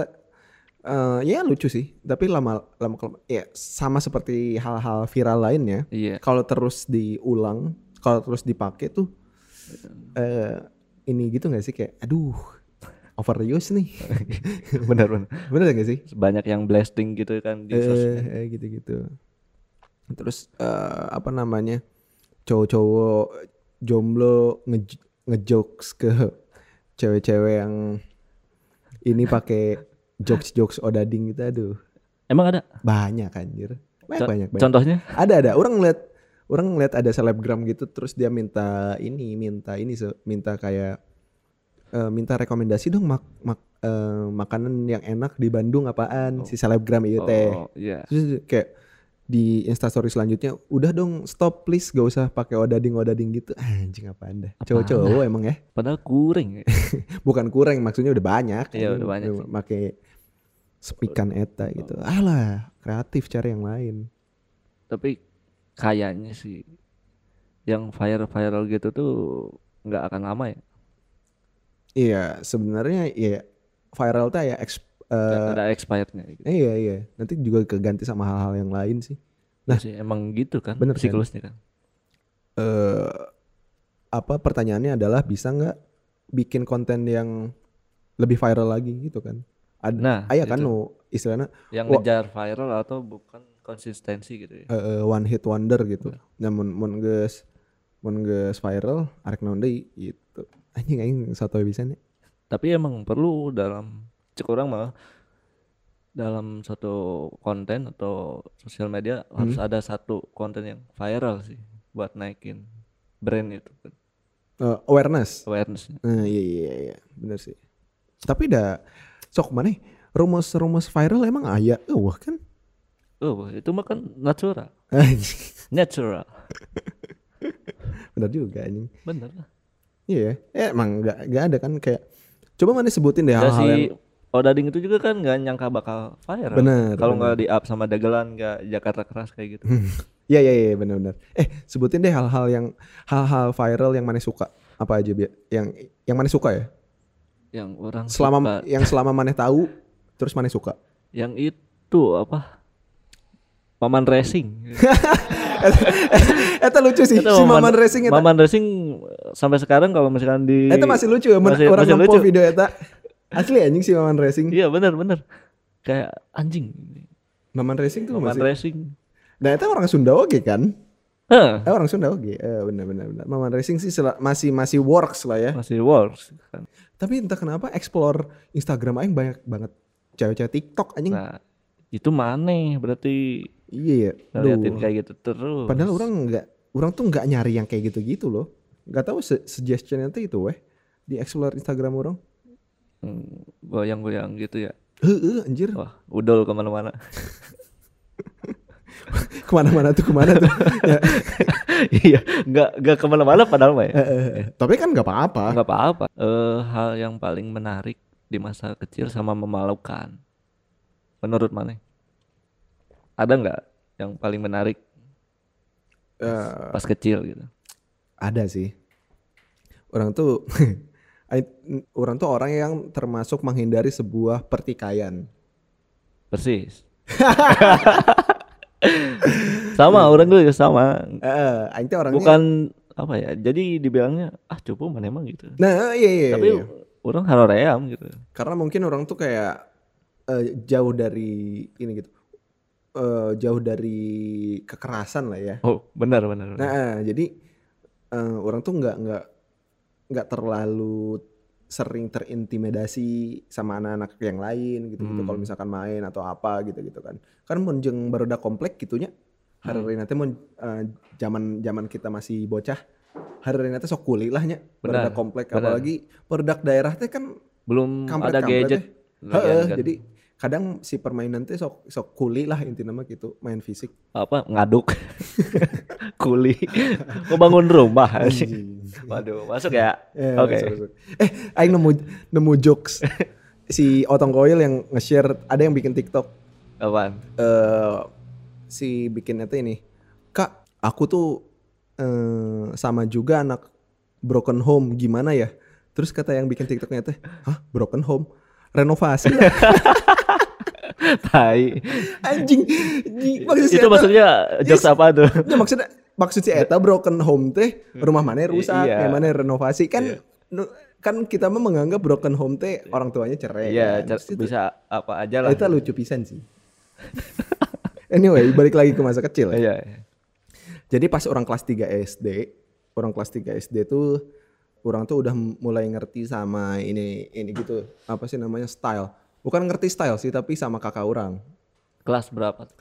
Speaker 2: eh, ya lucu sih, tapi lama lama kelama- ya sama seperti hal-hal viral lainnya.
Speaker 1: iya
Speaker 2: Kalau terus diulang, kalau terus dipakai tuh eh ini gitu nggak sih kayak aduh overuse nih.
Speaker 1: benar-benar
Speaker 2: Bener nggak sih?
Speaker 1: banyak yang blasting gitu kan di sosmed
Speaker 2: eh, eh, gitu-gitu. Terus eh, apa namanya cowok-cowok jomblo nge ngejokes ke cewek-cewek yang ini pakai jokes-jokes odading gitu aduh
Speaker 1: emang ada
Speaker 2: banyak anjir banyak
Speaker 1: Co-
Speaker 2: Eh, banyak, banyak.
Speaker 1: contohnya
Speaker 2: ada ada orang ngeliat orang ngeliat ada selebgram gitu terus dia minta ini minta ini se- minta kayak eh, minta rekomendasi dong mak, mak- eh, makanan yang enak di Bandung
Speaker 1: Oh.
Speaker 2: apaan si selebgram itu teh
Speaker 1: oh iya
Speaker 2: Terus kayak di instastory selanjutnya udah dong stop please gak usah pakai odading odading gitu anjing apa anda
Speaker 1: Apaan
Speaker 2: cowok-cowok emang ya
Speaker 1: padahal kuring
Speaker 2: bukan kurang maksudnya udah banyak
Speaker 1: Iya, udah banyak sih.
Speaker 2: pakai sepikan eta gitu alah kreatif cari yang lain
Speaker 1: tapi kayaknya sih yang viral viral gitu tuh nggak akan lama ya
Speaker 2: iya sebenarnya iya viral tuh ya eks- eh,
Speaker 1: ada expirednya gitu.
Speaker 2: iya iya nanti juga keganti sama hal-hal yang lain sih
Speaker 1: Ya sih, emang gitu kan
Speaker 2: nah, Bener kan?
Speaker 1: siklusnya kan
Speaker 2: eh apa pertanyaannya adalah bisa nggak bikin konten yang lebih viral lagi gitu kan Ad-
Speaker 1: nah
Speaker 2: Ayah kan
Speaker 1: itu.
Speaker 2: nu istilahnya
Speaker 1: yang
Speaker 2: Wah.
Speaker 1: ngejar viral atau bukan konsistensi gitu ya
Speaker 2: eh, eh, one hit wonder gitu. Nah mun mun geus mun geus viral arek naon deui gitu. Anjing aing satu bisa nih.
Speaker 1: tapi emang perlu dalam cek orang mah dalam satu konten atau sosial media
Speaker 2: Hmm.
Speaker 1: harus ada satu konten yang viral sih buat naikin brand itu kan,
Speaker 2: Eh, awareness.
Speaker 1: awarenessnya
Speaker 2: Nah, iya iya iya bener sih. Tapi dah sok mana rumus-rumus viral emang aya eueuh kan.
Speaker 1: oh itu mah kan natural
Speaker 2: Anjing.
Speaker 1: natural
Speaker 2: bener juga anjing.
Speaker 1: bener lah
Speaker 2: Iya, ya. emang nggak nggak ada kan kayak coba mana sebutin deh
Speaker 1: Dan
Speaker 2: hal-hal
Speaker 1: si
Speaker 2: yang
Speaker 1: Odading itu juga kan nggak nyangka bakal viral
Speaker 2: Bener,
Speaker 1: kalau nggak di up sama dagelan nggak Jakarta keras kayak gitu
Speaker 2: Iya iya iya benar-benar. Eh sebutin deh hal-hal yang hal-hal viral yang mana suka apa aja Bia? yang yang mana suka ya
Speaker 1: yang orang
Speaker 2: selama
Speaker 1: suka.
Speaker 2: yang selama maneh tahu terus maneh suka
Speaker 1: yang itu apa paman racing
Speaker 2: Eta lucu sih si Maman, Racing Eta,
Speaker 1: Maman Racing sampai sekarang kalau misalkan di
Speaker 2: Eta masih lucu ya men-
Speaker 1: masih-
Speaker 2: orang
Speaker 1: masih
Speaker 2: nge-post
Speaker 1: lucu.
Speaker 2: video Eta asli anjing si Maman Racing
Speaker 1: Iya benar benar. Kayak anjing.
Speaker 2: Maman Racing tuh
Speaker 1: Maman
Speaker 2: masih
Speaker 1: Racing.
Speaker 2: nah Eta orang Sunda oke kan
Speaker 1: Hah,
Speaker 2: eh, orang Sunda oke eh, benar benar benar Maman Racing sih sel- masih masih works lah ya
Speaker 1: masih works kan.
Speaker 2: tapi entah kenapa explore Instagram aing banyak banget cewek-cewek TikTok anjing
Speaker 1: Nah, itu mana berarti
Speaker 2: Iya ya.
Speaker 1: ngeliatin
Speaker 2: Aduh.
Speaker 1: kayak gitu terus
Speaker 2: Padahal orang nggak, orang tuh nggak nyari yang kayak gitu-gitu loh. Nggak tahu se suggestionnya tuh itu weh di explore Instagram orang.
Speaker 1: Hmm, goyang-goyang gitu ya
Speaker 2: Heeh, anjir.
Speaker 1: wah udol kemana-mana
Speaker 2: Kemana-mana tuh kemana tuh. Ya,
Speaker 1: iya nggak nggak kemana-mana padahal mah ya
Speaker 2: eh, eh, eh. Tapi kan nggak apa-apa.
Speaker 1: nggak apa-apa Eh, hal yang paling menarik di masa kecil sama memalukan menurut mana ada nggak yang paling menarik
Speaker 2: Eh,
Speaker 1: pas kecil gitu
Speaker 2: ada sih. Orang tuh, I- orang tuh orang yang termasuk menghindari sebuah pertikaian.
Speaker 1: persis sama orang tuh juga sama
Speaker 2: Eh, eh, aing tuh orangnya.
Speaker 1: bukan apa ya jadi dibilangnya ah coba mana emang gitu
Speaker 2: Nah, iya iya.
Speaker 1: tapi
Speaker 2: iya.
Speaker 1: orang haroream gitu
Speaker 2: Karena mungkin orang tuh kayak eh, jauh dari ini gitu. Eh, jauh dari kekerasan lah ya.
Speaker 1: oh benar benar, benar.
Speaker 2: Nah, jadi eh, orang tuh nggak nggak nggak terlalu sering terintimidasi sama anak-anak yang lain gitu gitu
Speaker 1: Hmm.
Speaker 2: kalau misalkan main atau apa gitu gitu kan kan menjeng barudak komplek gitunya hari hmm. nanti mun eh, zaman zaman kita masih bocah hari nanti sok kulit lah nya
Speaker 1: Benar,
Speaker 2: barudak komplek
Speaker 1: benar.
Speaker 2: apalagi barudak daerah teh kan
Speaker 1: belum ada
Speaker 2: kampret-kampret
Speaker 1: gadget
Speaker 2: teh.
Speaker 1: lagian
Speaker 2: Heeh,
Speaker 1: kan.
Speaker 2: jadi kadang si permainan teh sok sok kulit lah inti nama gitu main fisik
Speaker 1: apa ngaduk kuli mau bangun rumah
Speaker 2: Anjing.
Speaker 1: waduh masuk ya
Speaker 2: Ya,
Speaker 1: Oke.
Speaker 2: masuk-masuk. Eh, aing nemu nemu jokes si Otong Koil yang nge-share ada yang bikin TikTok
Speaker 1: apaan
Speaker 2: eh si bikinnya tuh ini. Kak, aku tuh eh, sama juga anak broken home gimana ya? Terus kata yang bikin TikToknya teh, "Hah, broken home? Renovasi?"
Speaker 1: tai
Speaker 2: Anjing. Ji- Maksud si
Speaker 1: itu
Speaker 2: Eta-
Speaker 1: maksudnya jokes apa tuh
Speaker 2: Ya, maksudnya maksud si eta broken home teh rumah mana rusak,
Speaker 1: Iya.
Speaker 2: yang mana renovasi kan nu- kan kita mah menganggap broken home teh orang tuanya cerai.
Speaker 1: iya
Speaker 2: kan?
Speaker 1: cer-
Speaker 2: Terus itu-
Speaker 1: bisa apa aja lah
Speaker 2: Oh, Itu lucu pisan sih. anyway, balik lagi ke masa kecil. ya.
Speaker 1: iya iya.
Speaker 2: Jadi pas orang kelas 3 SD, orang kelas 3 SD tuh orang tuh udah mulai ngerti sama ini ini gitu apa sih namanya style. Bukan ngerti style sih, tapi sama kakak orang.
Speaker 1: kelas berapa tuh?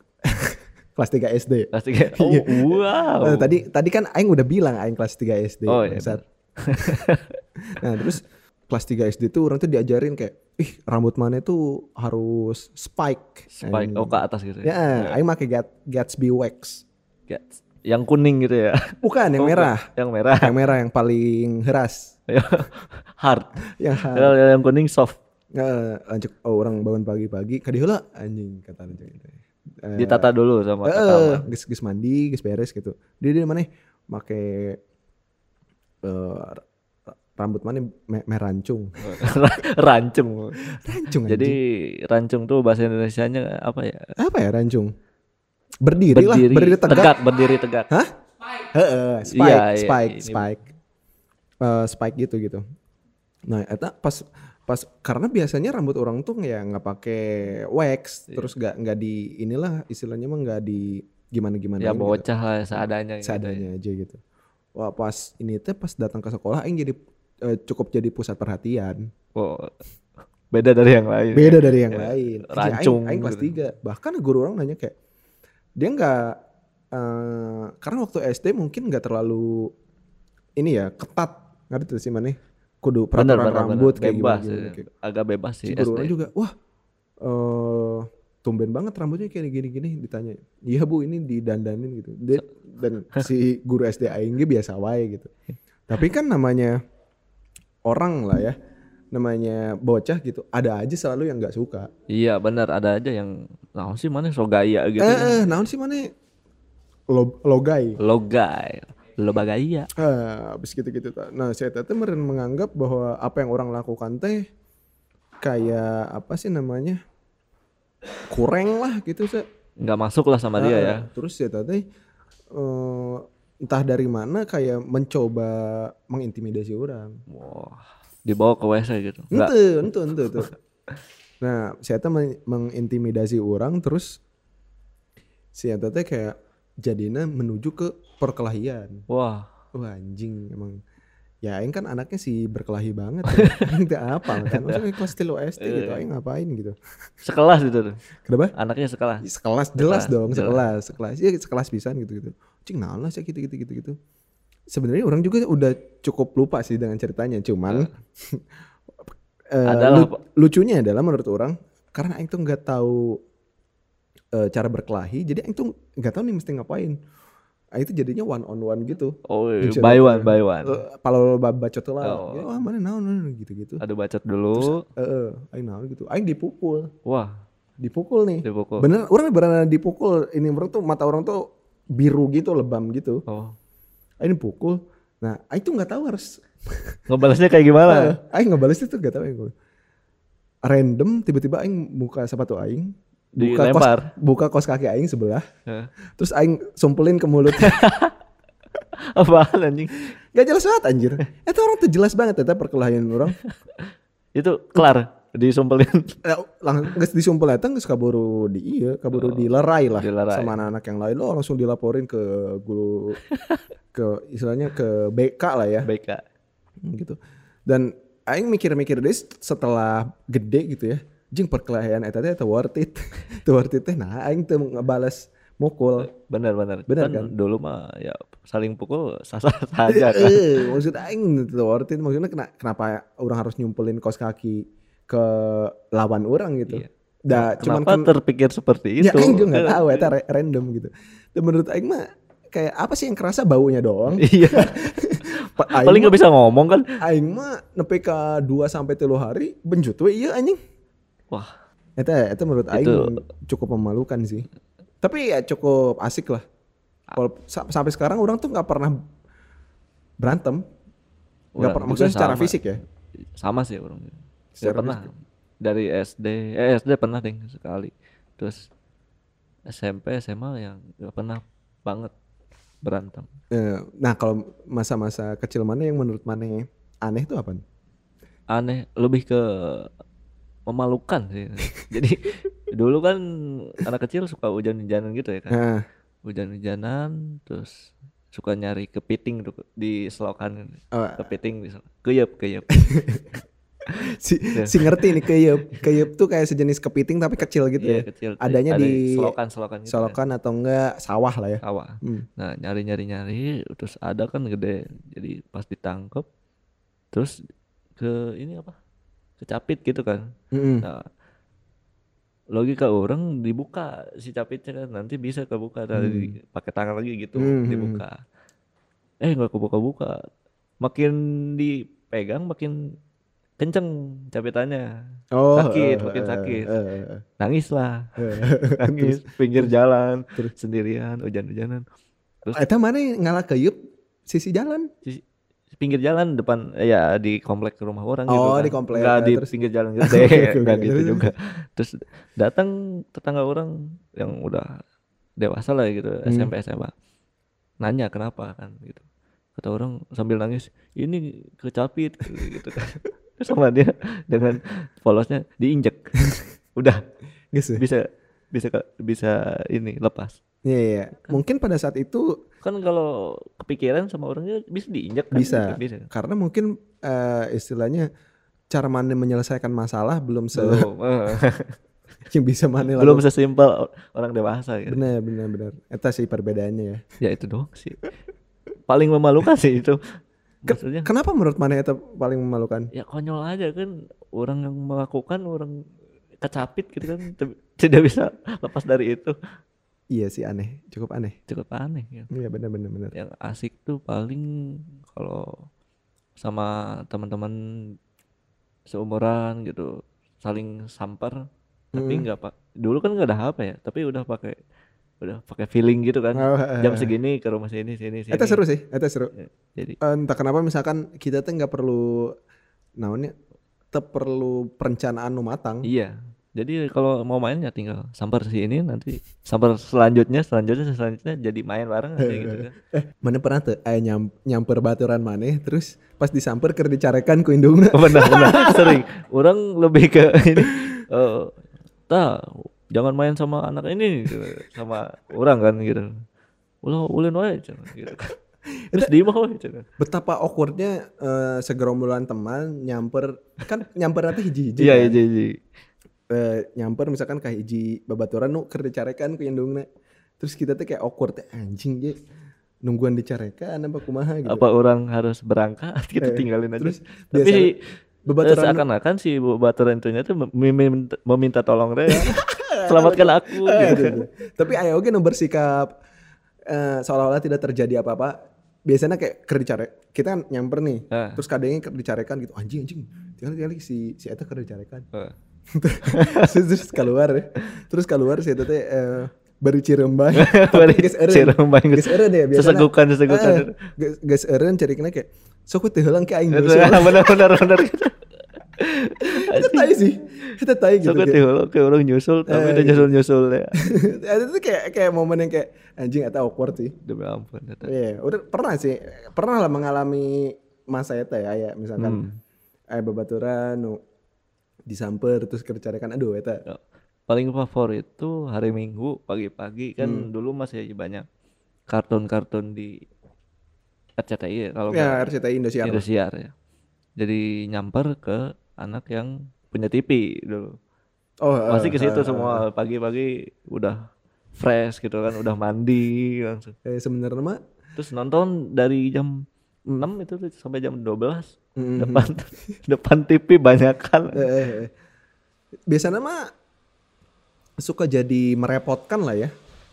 Speaker 2: Kelas 3 SD.
Speaker 1: kelas tiga oh wow
Speaker 2: Eh, tadi tadi kan aing udah bilang aing kelas 3 SD.
Speaker 1: Oh, iya,
Speaker 2: bangsat. nah, terus kelas 3 SD tuh orang tuh diajarin kayak ih rambut mana tuh harus spike.
Speaker 1: spike
Speaker 2: Anjing.
Speaker 1: oh ke atas gitu
Speaker 2: Ya,
Speaker 1: ya
Speaker 2: aing make Gat- Gatsby wax.
Speaker 1: Gats- yang kuning gitu ya
Speaker 2: Bukan yang
Speaker 1: Oh,
Speaker 2: merah.
Speaker 1: yang merah
Speaker 2: yang merah yang paling heras.
Speaker 1: hard
Speaker 2: Yang ha-
Speaker 1: Kalau yang kuning soft
Speaker 2: eh, lanjut oh, orang bangun pagi-pagi ka diheula anjing kata lanjut. Eh,
Speaker 1: ditata dulu sama
Speaker 2: eh,
Speaker 1: kata
Speaker 2: geus geus mandi, geus beres gitu. Dia di mana? Make eh, ra- rambut mana me- merancung.
Speaker 1: rancung
Speaker 2: Rancung
Speaker 1: Jadi
Speaker 2: anjing.
Speaker 1: rancung tuh bahasa Indonesianya apa ya?
Speaker 2: apa ya rancung? Berdiri,
Speaker 1: Berdiri,
Speaker 2: lah, berdiri tegak.
Speaker 1: berdiri tegak.
Speaker 2: Hah? Heeh, spike,
Speaker 1: Iya, iya,
Speaker 2: spike,
Speaker 1: ini-
Speaker 2: spike. Eh, spike gitu gitu. Nah, eta pas pas karena biasanya rambut orang tuh ya nggak pakai wax,
Speaker 1: Iya.
Speaker 2: terus nggak nggak di inilah istilahnya mah nggak di gimana gimana
Speaker 1: Ya bocah lah seadanya gitu.
Speaker 2: seadanya aja gitu. Wah pas ini teh pas datang ke sekolah aing jadi eh, cukup jadi pusat perhatian.
Speaker 1: Oh, beda dari yang lain. ya. Iya.
Speaker 2: Beda dari yang lain. Anjing, aing-
Speaker 1: rancung
Speaker 2: aing, kelas
Speaker 1: gitu.
Speaker 2: 3. Bahkan guru orang nanya kayak dia nggak eh, karena waktu SD mungkin nggak terlalu ini ya ketat ngerti tuh sih maneh kudu
Speaker 1: Bener,
Speaker 2: peraturan
Speaker 1: bener, bener.
Speaker 2: rambut kayak
Speaker 1: bebas,
Speaker 2: gimana,
Speaker 1: ya.
Speaker 2: gimana, kayak- gitu.
Speaker 1: agak bebas
Speaker 2: si
Speaker 1: sih.
Speaker 2: guru
Speaker 1: SD.
Speaker 2: orang juga wah eh tumben banget rambutnya kayak gini-gini ditanya iya bu ini didandanin gitu Dia- dan si guru SD aing ge biasa wae gitu tapi kan namanya orang lah ya namanya bocah gitu ada aja selalu yang nggak suka
Speaker 1: Iya benar ada aja yang nah sih mana so gaya gitu.
Speaker 2: eh eh, naon sih mana lo logai
Speaker 1: Logai, lo bagaya.
Speaker 2: Ah, habis gitu-gitu. ta. Nah, saya tete meren menganggap bahwa apa yang orang lakukan teh kayak apa sih namanya? kurang lah gitu, Sa.
Speaker 1: Nggak masuk lah sama dia
Speaker 2: Ah,
Speaker 1: ya.
Speaker 2: Terus saya tete eh, entah dari mana kayak mencoba mengintimidasi orang.
Speaker 1: Wah, dibawa ke WC gitu. Nggak,
Speaker 2: Ente, ente, ente tuh. Nah, si Eta men- mengintimidasi orang terus si Eta teh kayak jadinya menuju ke perkelahian.
Speaker 1: wah
Speaker 2: Wah anjing emang ya Aing kan anaknya sih berkelahi banget ya. Aing teh apa kan maksudnya kelas telu SD gitu
Speaker 1: Iya.
Speaker 2: Aing ngapain gitu
Speaker 1: Sekelas itu tuh.
Speaker 2: kenapa
Speaker 1: Anaknya sekelas.
Speaker 2: Ya, sekelas jelas
Speaker 1: Sekelas,
Speaker 2: dong
Speaker 1: jelas.
Speaker 2: sekelas sekelas ya sekelas pisan gitu gitu cing naon lah sih gitu gitu gitu gitu sebenarnya orang juga udah cukup lupa sih dengan ceritanya cuman eh,
Speaker 1: Adalah,
Speaker 2: lu- lucunya adalah menurut orang karena Aing tuh nggak tahu eh, cara berkelahi jadi Aing tuh nggak tahu nih mesti ngapain Aing tuh jadinya one on one gitu
Speaker 1: Oh,
Speaker 2: Di
Speaker 1: by
Speaker 2: cerita.
Speaker 1: one, by one.
Speaker 2: Eh, palo bacot lah
Speaker 1: Oh.
Speaker 2: wah mana naon naon gitu gitu
Speaker 1: Ada bacot dulu.
Speaker 2: Heeh, aing naon gitu. Aing dipukul,
Speaker 1: Wah,
Speaker 2: dipukul nih.
Speaker 1: dipukul.
Speaker 2: Bener, orang beneran dipukul. Ini orang tuh mata orang tuh biru gitu, lebam gitu.
Speaker 1: Oh,
Speaker 2: Aing dipukul. Nah, aing tuh nggak tahu harus.
Speaker 1: ngebalasnya kayak gimana?
Speaker 2: Eh, aing ngebalasnya tuh nggak tahu aing. Random tiba-tiba aing buka sepatu aing, buka kos,
Speaker 1: Dilempar. Iya.
Speaker 2: buka kos kaki aing sebelah.
Speaker 1: Heeh.
Speaker 2: Terus aing sumpelin ke mulut.
Speaker 1: Apaan anjing?
Speaker 2: gak jelas banget anjir. Itu orang tuh jelas banget eta perkelahian orang.
Speaker 1: Itu kelar disumpelin.
Speaker 2: Eh, langsung geus disumpel eta geus kaburu di ieu, kaburu dilerai lah
Speaker 1: Oh, dilerai.
Speaker 2: sama anak-anak yang lain. Lo langsung dilaporin ke guru ke istilahnya ke BK lah ya
Speaker 1: Baik, Kak.
Speaker 2: gitu. Dan aing mikir-mikir deh setelah gede gitu ya. Jing perkelahian eta teh teu worth it. Teu worth it teh nah aing teu ngebales mukul.
Speaker 1: Benar, benar.
Speaker 2: Benar,
Speaker 1: Kan
Speaker 2: kan?
Speaker 1: Dulu mah ya saling pukul sah-sah saja kan.
Speaker 2: Eh, maksud aing teu worth it maksudnya kena- kenapa orang harus nyumpelin kos kaki ke lawan orang gitu.
Speaker 1: Iya.
Speaker 2: Dah cuman
Speaker 1: Kenapa
Speaker 2: ken-
Speaker 1: terpikir seperti itu?
Speaker 2: Ya Aing juga gak tahu
Speaker 1: Iya.
Speaker 2: Eta re- random gitu Dan menurut Aing mah Kayak apa sih yang kerasa baunya doang
Speaker 1: Iya.
Speaker 2: Pa- Aing
Speaker 1: Paling nggak
Speaker 2: mah,
Speaker 1: bisa ngomong kan.
Speaker 2: Aing mah nepi ka 2 sampai 3 hari Benjut we iya anjing
Speaker 1: Wah.
Speaker 2: Eta, eta menurut Aing
Speaker 1: Itu-
Speaker 2: cukup memalukan sih Tapi ya cukup asik lah Wala- sa- Sampai sekarang orang tuh gak pernah Berantem Gak
Speaker 1: Orang
Speaker 2: pernah,
Speaker 1: juga
Speaker 2: maksudnya secara
Speaker 1: sama.
Speaker 2: fisik ya
Speaker 1: Sama sih orang. Saya
Speaker 2: Secara
Speaker 1: pernah
Speaker 2: fisik.
Speaker 1: dari SD, eh SD pernah deh sekali. Terus SMP, SMA yang ya nggak pernah banget berantem.
Speaker 2: Eh, Nah kalau masa-masa kecil mana yang menurut mana aneh tuh apa?
Speaker 1: aneh lebih ke memalukan sih jadi dulu kan anak kecil suka hujan-hujanan gitu ya kan
Speaker 2: Nah,
Speaker 1: hujan-hujanan terus suka nyari kepiting tuh di selokan
Speaker 2: eh,
Speaker 1: kepiting di selokan. keyep keyep
Speaker 2: si, si ngerti nih keyep keyep tuh kayak sejenis kepiting tapi kecil gitu
Speaker 1: Iya,
Speaker 2: ya
Speaker 1: kecil Ada
Speaker 2: Adanya di
Speaker 1: selokan selokan gitu kan,
Speaker 2: solokan atau enggak sawah lah ya
Speaker 1: sawah
Speaker 2: Hmm.
Speaker 1: nah nyari nyari nyari terus ada kan gede jadi pas ditangkap terus ke ini apa kecapit gitu kan
Speaker 2: Mm-mm.
Speaker 1: Nah, logika orang dibuka si capitnya kan nanti bisa kebuka tadi pakai tangan lagi gitu
Speaker 2: Hmm.
Speaker 1: dibuka. Eh nggak kebuka-buka. Makin dipegang makin kenceng capitannya.
Speaker 2: oh
Speaker 1: sakit,
Speaker 2: eh,
Speaker 1: makin
Speaker 2: eh,
Speaker 1: sakit.
Speaker 2: eh, eh,
Speaker 1: Nangis lah,
Speaker 2: eh.
Speaker 1: nangis pinggir jalan
Speaker 2: terus.
Speaker 1: sendirian hujan-hujanan.
Speaker 2: Eta mana yang ngalah keyep sisi jalan
Speaker 1: Di pinggir jalan depan eh, ya di komplek rumah orang gitu
Speaker 2: Oh,
Speaker 1: kan.
Speaker 2: di komplek,
Speaker 1: Nggak
Speaker 2: ya,
Speaker 1: di
Speaker 2: terus-
Speaker 1: pinggir jalan
Speaker 2: Oke,
Speaker 1: gede
Speaker 2: oke, oke.
Speaker 1: nggak gitu
Speaker 2: Terus-
Speaker 1: juga terus datang tetangga orang yang udah dewasa lah gitu
Speaker 2: Hmm.
Speaker 1: SMP SMA nanya kenapa kan gitu kata orang sambil nangis ini kecapit gitu kan Terus sama dia dengan polosnya diinjek udah
Speaker 2: gitu ya
Speaker 1: bisa bisa bisa ini lepas
Speaker 2: Iya, iya. mungkin pada saat itu
Speaker 1: kan kalau kepikiran sama orangnya bisa diinjek kan
Speaker 2: Bisa.
Speaker 1: bisa
Speaker 2: karena mungkin eh, istilahnya cara mana menyelesaikan masalah belum se
Speaker 1: Belum, eh.
Speaker 2: yang bisa mana
Speaker 1: belum sesimpel or- orang dewasa gitu.
Speaker 2: benar benar benar Eta sih perbedaannya ya
Speaker 1: Ya itu doang sih. Paling memalukan sih itu.
Speaker 2: Ke-
Speaker 1: Maksudnya
Speaker 2: kenapa menurut mana itu paling memalukan
Speaker 1: ya konyol aja kan orang yang melakukan orang kecapit gitu kan te- tidak bisa lepas dari itu.
Speaker 2: iya sih aneh cukup aneh
Speaker 1: Cukup aneh gitu.
Speaker 2: iya benar benar benar
Speaker 1: Yang asik tuh paling kalau sama teman-teman seumuran gitu saling sampar tapi
Speaker 2: Hmm.
Speaker 1: nggak pak dulu kan nggak ada HP ya tapi udah pakai udah pakai feeling gitu kan
Speaker 2: Oh, eh,
Speaker 1: jam
Speaker 2: eh.
Speaker 1: segini ke rumah sini sini sini
Speaker 2: Eta seru sih, eta seru.
Speaker 1: jadi
Speaker 2: Eh, Entah kenapa misalkan kita tuh nggak perlu naonnya teu perlu perencanaan nu matang.
Speaker 1: iya jadi kalau mau main ya tinggal sambar si ini nanti sambar selanjutnya selanjutnya selanjutnya jadi main bareng aja gitu kan
Speaker 2: Mana pernah tuh aya nyam, nyamper baturan maneh terus pas disamper keur dicarekan ku indungna.
Speaker 1: Oh, benar benar sering orang lebih ke ini eh "Tah, jangan main sama anak ini gitu. sama orang kan gitu ulah ulin wae kan. gitu kan. Terus di mah weh, cenah.
Speaker 2: Betapa awkwardnya eh, segerombolan teman nyamper kan nyamper nanti hiji-hiji.
Speaker 1: Iya,
Speaker 2: kan?
Speaker 1: iya, iya, iya.
Speaker 2: Eh, nyamper misalkan ka hiji babaturan nu keur dicarekan ku indungna. Terus kita teh kayak awkward teh anjing ye. Nungguan dicarekan apa kumaha gitu.
Speaker 1: Apa orang harus berangkat kita
Speaker 2: Eh,
Speaker 1: tinggalin aja.
Speaker 2: Terus biasa
Speaker 1: Tapi eh,
Speaker 2: babaturan
Speaker 1: seakan-akan si babaturan itu tuh mem- meminta, meminta tolong deh. Selamatkan aku
Speaker 2: Eh,
Speaker 1: gitu.
Speaker 2: gitu. Tapi ayo oge nu bersikap eh, seolah-olah tidak terjadi apa-apa. Biasanya kayak keur dicare kita kan nyamper nih.
Speaker 1: Ah.
Speaker 2: Terus kadangnya keur dicarekan gitu anjing anjing. Tinggal-tinggal si si eta keur dicarekan.
Speaker 1: Eh,
Speaker 2: terus, terus keluar ya. Terus keluar si eta teh eh, bari cirembang.
Speaker 1: Bari
Speaker 2: Geus eureun.
Speaker 1: cirembang, geus-
Speaker 2: Geus eureun ya biasana.
Speaker 1: sesegukan, sesegukan.
Speaker 2: Eh, geus- Geus eureun carikna kayak sok teh heulang ke aing.
Speaker 1: Itu ya, benar-benar benar.
Speaker 2: Gitu, Eta tai sih. Eta tai gitu.
Speaker 1: Suka
Speaker 2: kayak-
Speaker 1: tiulo ke orang nyusul tapi
Speaker 2: Eh,
Speaker 1: dia nyusul nyusul ya.
Speaker 2: Eta tuh kayak kayak momen yang kayak anjing eta awkward sih.
Speaker 1: Demi ampun. eta.
Speaker 2: Iya, udah pernah sih, pernah lah mengalami masa eta ya, ya misalkan eh babaturan nu disamper terus kercarekan aduh eta.
Speaker 1: Ya, Paling favorit tuh hari Minggu pagi-pagi kan
Speaker 2: Hmm.
Speaker 1: dulu masih banyak kartun-kartun di RCTI ya, kalau nggak
Speaker 2: Ya RCTI Indosiar.
Speaker 1: Indosiar ya. Jadi nyamper ke anak yang punya TV dulu.
Speaker 2: Oh, eh,
Speaker 1: Pasti ke situ
Speaker 2: eh,
Speaker 1: semua pagi-pagi udah fresh gitu kan, udah mandi langsung.
Speaker 2: eh, sebenarnya mah
Speaker 1: Terus nonton dari jam 6 itu tuh sampai jam 12
Speaker 2: Mhm.
Speaker 1: depan depan TV banyak kan.
Speaker 2: eh, eh, eh. biasanya mah suka jadi merepotkan lah ya.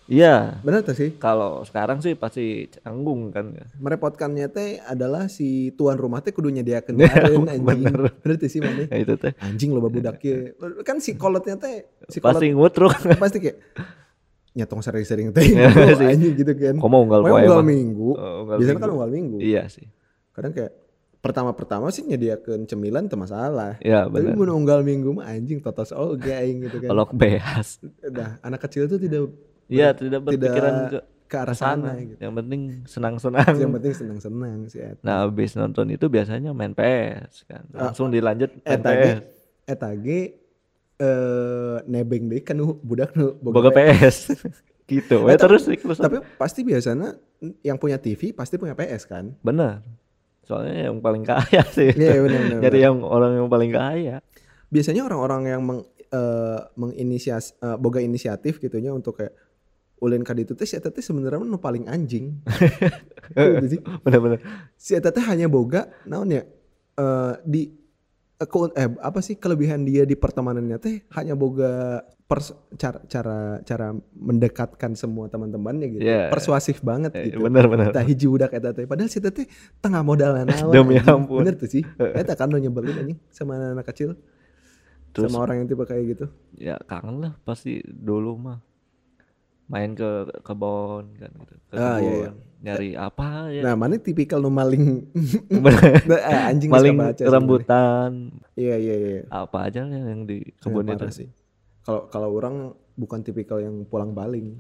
Speaker 1: Iya,
Speaker 2: Benar tuh sih.
Speaker 1: kalau sekarang sih pasti canggung kan ya.
Speaker 2: Merepotkannya teh adalah si tuan rumah teh kudu nyediakeun bareng anjing.
Speaker 1: Bener.
Speaker 2: Bener tuh sih maneh.
Speaker 1: Nah, itu teh.
Speaker 2: Anjing loba budak ye. Kan si kolotnya teh si kolot
Speaker 1: pasti ngutruk.
Speaker 2: Kan pasti kayak nyatong sering-sering teh
Speaker 1: Ya,
Speaker 2: gitu,
Speaker 1: sih.
Speaker 2: anjing gitu kan
Speaker 1: Komo unggal
Speaker 2: Pokoknya
Speaker 1: poe
Speaker 2: unggal
Speaker 1: mah.
Speaker 2: minggu
Speaker 1: Oh, unggal
Speaker 2: biasanya kan
Speaker 1: minggu.
Speaker 2: unggal minggu
Speaker 1: Iya sih.
Speaker 2: kadang kayak pertama-pertama sih nyediakan cemilan teu masalah
Speaker 1: Iya
Speaker 2: tapi
Speaker 1: benar.
Speaker 2: mun unggal minggu mah anjing totos oge aing gitu kan
Speaker 1: Olok behas.
Speaker 2: nah anak kecil tuh tidak
Speaker 1: Iya, tidak berpikiran
Speaker 2: tidak ke arah sana,
Speaker 1: sana.
Speaker 2: gitu
Speaker 1: Yang penting senang-senang.
Speaker 2: yang penting senang-senang sih et
Speaker 1: Nah, habis nonton itu biasanya main PS kan.
Speaker 2: Ah.
Speaker 1: Langsung dilanjut main
Speaker 2: etage
Speaker 1: PS.
Speaker 2: etage eh nebeng deh kan nu budak nu
Speaker 1: Boga
Speaker 2: boga
Speaker 1: PS. gitu. Ya
Speaker 2: Eh, tapi-
Speaker 1: terus siklus.
Speaker 2: tapi pasti biasanya yang punya TV pasti punya PS kan
Speaker 1: benar. Soalnya yang paling kaya sih. itu.
Speaker 2: Iya, benar, benar,
Speaker 1: Nyari yang orang yang paling kaya.
Speaker 2: biasanya orang-orang yang meng, eh, menginisias eh, boga inisiatif gitunya untuk kayak ulin ka ditu teh si eta teh sebenarnya nu paling anjing. Gitu sih.
Speaker 1: Benar-benar.
Speaker 2: si eta teh hanya boga naon ya eh, di eh, keun- eh, apa sih kelebihan dia di pertemanannya teh hanya boga pers- cara cara cara mendekatkan semua teman-temannya gitu.
Speaker 1: Iya.
Speaker 2: Persuasif banget
Speaker 1: Eh,
Speaker 2: gitu.
Speaker 1: Benar-benar.
Speaker 2: Tah hiji budak eta teh padahal si eta teh tengah modal naon.
Speaker 1: Demi
Speaker 2: anjing.
Speaker 1: ampun.
Speaker 2: Bener tuh sih. Eta kan nu nyebelin anjing sama anak-anak kecil.
Speaker 1: Terus-
Speaker 2: sama orang yang tipe kayak gitu.
Speaker 1: ya kangen lah pasti dulu mah main ke kebun kan gitu ke
Speaker 2: Ah, iya,
Speaker 1: kebun, nyari apa ya
Speaker 2: Nah, mana tipikal nu maling Nah, eh, anjing
Speaker 1: maling
Speaker 2: suka baca sebenarnya.
Speaker 1: rambutan
Speaker 2: Iya, iya, iya.
Speaker 1: apa aja lah yang di kebun
Speaker 2: Parah
Speaker 1: itu
Speaker 2: sih. Kalau kalau orang bukan tipikal yang pulang baling.